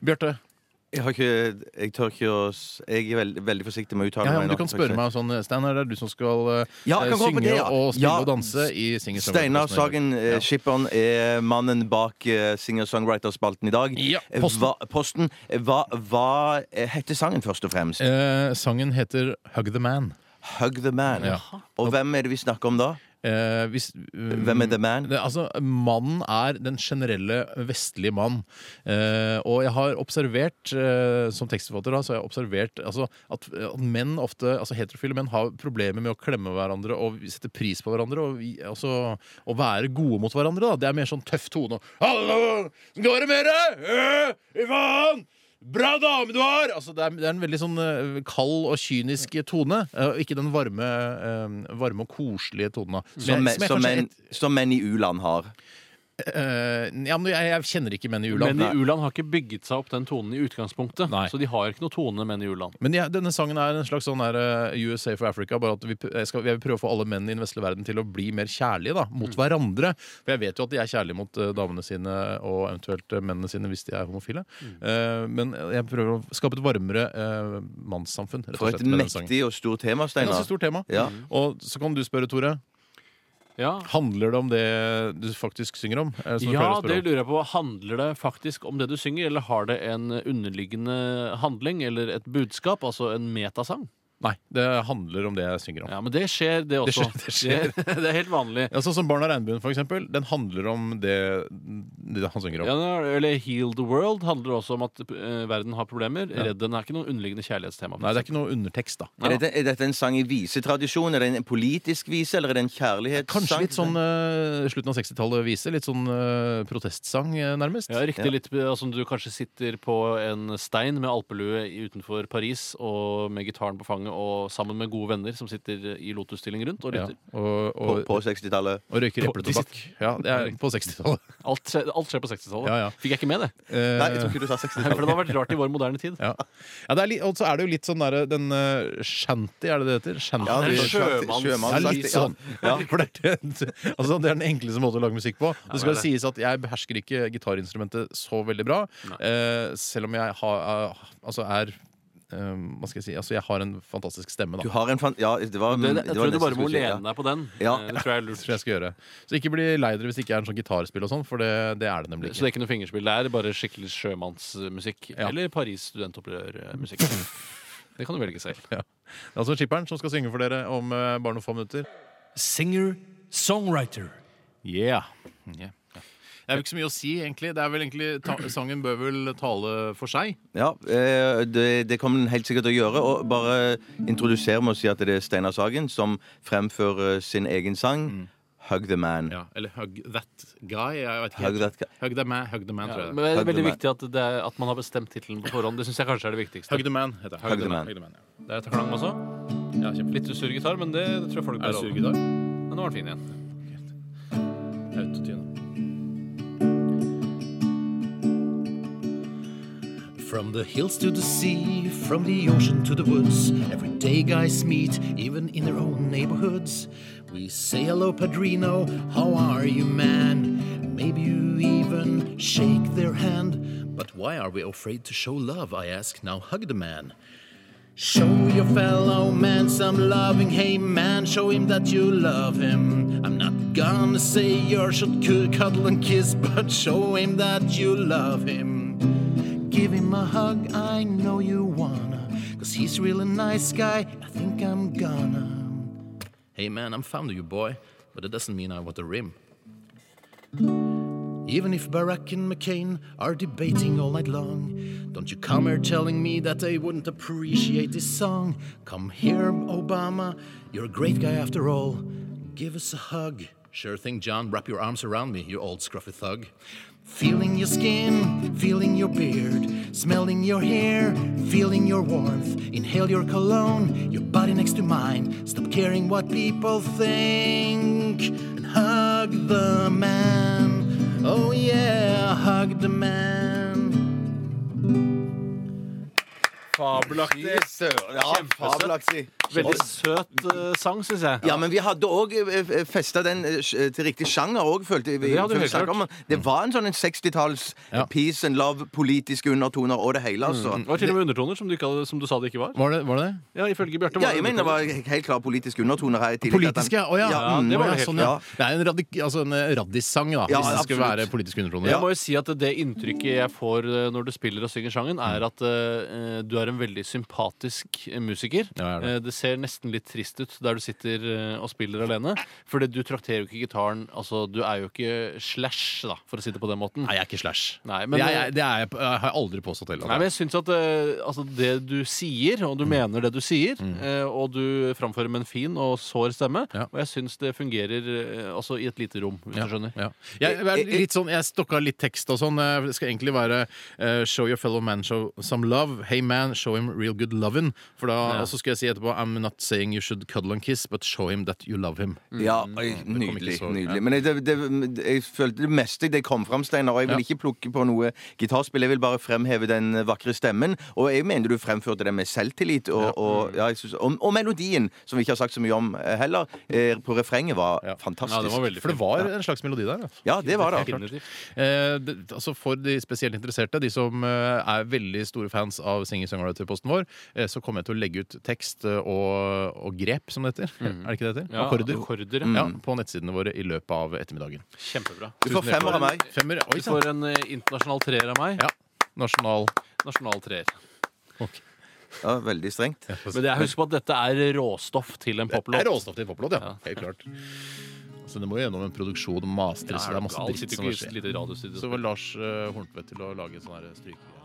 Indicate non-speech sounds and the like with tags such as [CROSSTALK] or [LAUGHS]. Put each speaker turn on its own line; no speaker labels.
Bjarte,
Jeg, har ikke, jeg tør ikke å s- Jeg er veldig, veldig forsiktig med å uttale
ja, ja, men
meg.
du kan spørre meg sånn Steinar, det er du som skal eh,
Ja, jeg kan gå på
synge
det, ja.
og spille
Ja.
og danse i Singer
Steinar Sagen, eh,
Ja.
skipperen, er mannen bak eh, singer-songwriter-spalten i dag.
Ja,
Eh,
Posten.
Hva, posten. Eh, Hva, hva eh, heter sangen, først og fremst?
Eh, sangen heter Hug the Man.
Hug the Man.
Ja.
Og hvem er det vi snakker om da?
Eh, hvis, um,
Hvem er the man?
Det, altså, mannen er den generelle vestlige mann. Eh, og jeg har observert, eh, som tekstforfatter, da, så har jeg observert altså, at, at menn ofte, altså heterofile menn, har problemer med å klemme hverandre og sette pris på hverandre. Og, vi- altså, å være gode mot hverandre. Da. Det er mer sånn tøff tone. og, Hallo! Går det med deg? Øh, Fy faen! Bra dame du har! Altså, det, er, det er en veldig sånn eh, kald og kynisk tone. eh, og ikke den varme, eh, varme og koselige tonen. da.
Som,
jeg-
men- som,
jeg kanskje
menn, som menn i u-land har.
Eh, ja, men jeg, jeg kjenner ikke menn i u-land.
Menn i u-land har ikke bygget seg opp den tonen i utgangspunktet.
Nei.
Så de har ikke noe tone, menn i u-land.
Men jeg- denne sangen er en slags sånn der, eh, USA for Africa. Bare at vi, p- jeg, skal, jeg vil prøve å få alle menn i den vestlige verden til å bli mer kjærlige da,
Mm.
mot hverandre. For jeg vet jo at de er kjærlige mot eh, damene sine og eventuelt eh, mennene sine hvis de er homofile.
Mm.
Eh, men jeg prøver å skape et varmere eh, mannssamfunn. Rett og
For et
slett, med den sangen.
mektig og stort
Det er
tema,
et
Steinar.
ganske stort tema.
Ja.
Og så kan du spørre, Tore.
Ja,
Handler det om det du faktisk synger om? eh, som jeg
ja
pleier å spørre
det
om?
lurer jeg på. Handler det faktisk om det du synger, eller har det en underliggende handling eller et budskap? Altså en metasang?
Nei, det handler om det jeg synger om.
Ja, men det skjer, det
Det
også.
skjer- det skjer.
Det, [LAUGHS] det er helt vanlig.
Ja, sånn som Barna Regnbuen, for eksempel. Den handler om det, det han synger om.
Ja, eller Heal the World handler også om at eh, verden har problemer. Redd den er ikke noe underliggende kjærlighetstema.
Nei, det er ikke noe undertekst, da.
Er, dette, er dette en sang i visetradisjon? Er det en politisk vise, eller er det en kjærlighetssang?
Kanskje litt sånn eh, slutten av 60-tallet viser. Litt sånn eh, protestsang, eh, nærmest.
Ja, riktig litt eh, Som du kanskje sitter på en stein med alpelue i- utenfor Paris og med gitaren på fanget og sammen med gode venner som sitter i lotusstilling rundt og
Ja,
lytter.
og,
på,
og,
på 60-tallet.
og røyker
på-
epletobakk. Ja, det er på 60-tallet.
Alt, skjer- alt skjer på 60-tallet.
Ja, ja.
Fikk jeg ikke
[LAUGHS]
med det?
Eh,
Nei, jeg tror ikke du sa
For det
60-tallet.
hadde vært rart i vår moderne tid.
ja. Ja, det er litt- og så er det jo litt sånn derre den eh, shanty, er det det heter? Shanty.
Ja,
det er en sjømann.
Det er litt sånn.
Ja.
[LAUGHS] For det, er det, altså, det er den enkleste måten å lage musikk på. Det skal
det er det.
sies at jeg behersker ikke gitarinstrumentet så veldig bra. eh, selv om jeg har, altså er eh, Hva skal jeg si? Altså, jeg har en fantastisk stemme,
Du
da.
har en fan... Ja, det var,
Det,
Mm,
jeg
det var
tror du
nesten
bare må
skulle si, ja.
lene deg på den.
Ja.
Eh, Det tror jeg er lurt.
Tror jeg skal gjøre. Så ikke bli lei dere hvis det ikke er en sånn gitarspill og sånn, for det, det er det nemlig
Så det
ikke.
er ikke noe fingerspill. Det er bare skikkelig sjømannsmusikk.
Ja.
Eller Paris
[LAUGHS]
studentopprørmusikk. Det kan du velge selv.
Det er altså skipperen som skal synge for dere om eh, bare noen få minutter.
Singer, songwriter.
Yeah. Det er jo ikke så mye å si, egentlig. Det er vel egentlig ta Sangen bør vel tale for seg.
Ja, eh, det, det kommer den helt sikkert til å gjøre. Og bare introdusere med å si at det er Steinar Sagen som fremfører sin egen sang,
Mm.
'Hug the Man'.
Ja, eller Hug That Guy. Jeg vet
Hug that guy.
Hug the Man, hug the man
Ja,
tror jeg.
men det er
Hug the
veldig
man.
viktig at, det er, at man har bestemt tittelen på forhånd. Det syns jeg kanskje er det viktigste.
Hug the Man heter det.
Hug the Man.
Hug the man ja.
Det er taklang også.
Ja, kjempefint.
Litt sur gitar, men det, det tror jeg folk
Er det
bærer over.
surgitar?
Men nå var den fin igjen.
Autotune.
From the hills to the sea, from the ocean to the woods, everyday guys meet, even in their own neighborhoods. We say hello, Padrino, how are you, man? Maybe you even shake their hand. But why are we afraid to show love? I ask, now hug the man. Show your fellow man some loving, hey man, show him that you love him. I'm not gonna say you should cu- cuddle and kiss, [LAUGHS] but show him that you love him. Give him a hug, I know you wanna. Cause he's really nice guy, I think I'm gonna. Hey man, I'm fond of you, boy, but it doesn't mean I want a rim. Even if Barack and McCain are debating all night long, don't you come here telling me that they wouldn't appreciate this song. Come here, Obama, you're a great guy after all. Give us a hug. Sure thing, John, wrap your arms around me, you old scruffy thug. Feeling your skin, feeling your beard, smelling your hair, feeling your warmth. Inhale your cologne, your body next to mine. Stop caring what people think and hug the man. Oh yeah, hug the man.
Fabelaktig.
Søren, ja,
Kjempesøtt.
fabelaktig.
Veldig søt eh, sang, syns jeg.
Ja, men vi hadde òg festa den eh, sj- til riktig sjanger òg, følte vi.
Det hadde Mm. du
følte
helt
snakk om. Det var en sånn en 60-talls
Ja.
peace and love, politiske undertoner og det hele, altså.
Det var til og med undertoner, som du, ikke hadde, som du sa det ikke var.
Var det var det? det?
Ja, ifølge Bjarte.
Ja,
var det
jeg mener det
undertoner.
var helt klart politiske undertoner her tidligere.
Politiske, å ja.
Ja,
Mm,
det var
ja,
det helt
sånn, ja. Det er en, radik, altså en eh, raddis-sang, da,
Ja,
hvis det skulle
absolutt.
være politisk undertoner.
Jeg må jo si at det inntrykket jeg får eh, når du spiller og synger sangen, er at eh, du er en veldig sympatisk eh, musiker.
Ja, jeg er det.
Eh, det ser nesten litt trist ut der du sitter eh, og spiller alene. For du trakterer jo ikke gitaren Altså, du er jo ikke slash, da, for å si det på den måten.
Nei, jeg er ikke slash.
Nei, men-
det, er, jeg- det er, jeg- jeg har jeg aldri påstått heller.
Nei, men jeg syns at eh, altså, det du sier, og du
Mm.
mener det du sier, eh, og du framfører med en fin og sår stemme,
Ja.
og jeg syns det fungerer eh, altså i et lite rom, hvis du skjønner.
Ja. Jeg,
Eh,
jeg, er litt sånn, jeg stokka litt tekst og sånn. Eh, Det skal egentlig være eh, 'Show your fellow man show some love'. 'Hey man, show him real good lovin'. For da,
Ja.
Og så skal jeg si etterpå 'I'm not saying you should cuddle and kiss, but show him that you love him'.
Ja, oi,
Mm. ikke
nydelig.
så- ja.
nydelig Men jeg, det, det, jeg følte det meste det kom fram, Steinar. Og jeg vil
Ja.
ikke plukke på noe gitarspill. Jeg vil bare fremheve den vakre stemmen. Og jeg mener du fremførte det med selvtillit. Og,
Mm.
og, ja, jeg synes, og, og melodien, som vi ikke har sagt så mye om eh, heller, eh, på refrenget var
Ja.
fantastisk.
Ja, det var veldig
For det var en slags melodi der. Ja.
Ja, det var det.
Definitivt.
Eh, det, altså for de spesielt interesserte, de som eh, er veldig store fans av singer-songwriter-posten vår, eh, så kommer jeg til å legge ut tekst eh, og, og grep, som det heter. Er det ikke det det heter?
Mm. Ja,
Akkorder. Mm.
akkorder, Mm. ja.
Ja, på nettsidene våre i løpet av ettermiddagen.
Kjempebra.
Du får femmer av meg.
Femmer. Oi
Du
sann.
får en eh, internasjonal treer av meg.
Ja. Nasjonal
Nasjonal treer.
Ja, veldig strengt.
Men jeg husker på at dette er råstoff til en
Det er
poplåt.
råstoff til poplåt, ja. Helt klart. Så det må jo gjennom en produksjon og mastres.
Ja,
så det er masse
gal,
dritt
sitter
som
ikke
må
i et
skje.
lite radiostudio.
Så var Lars eh, Horntvedt til å lage sånn her stryk...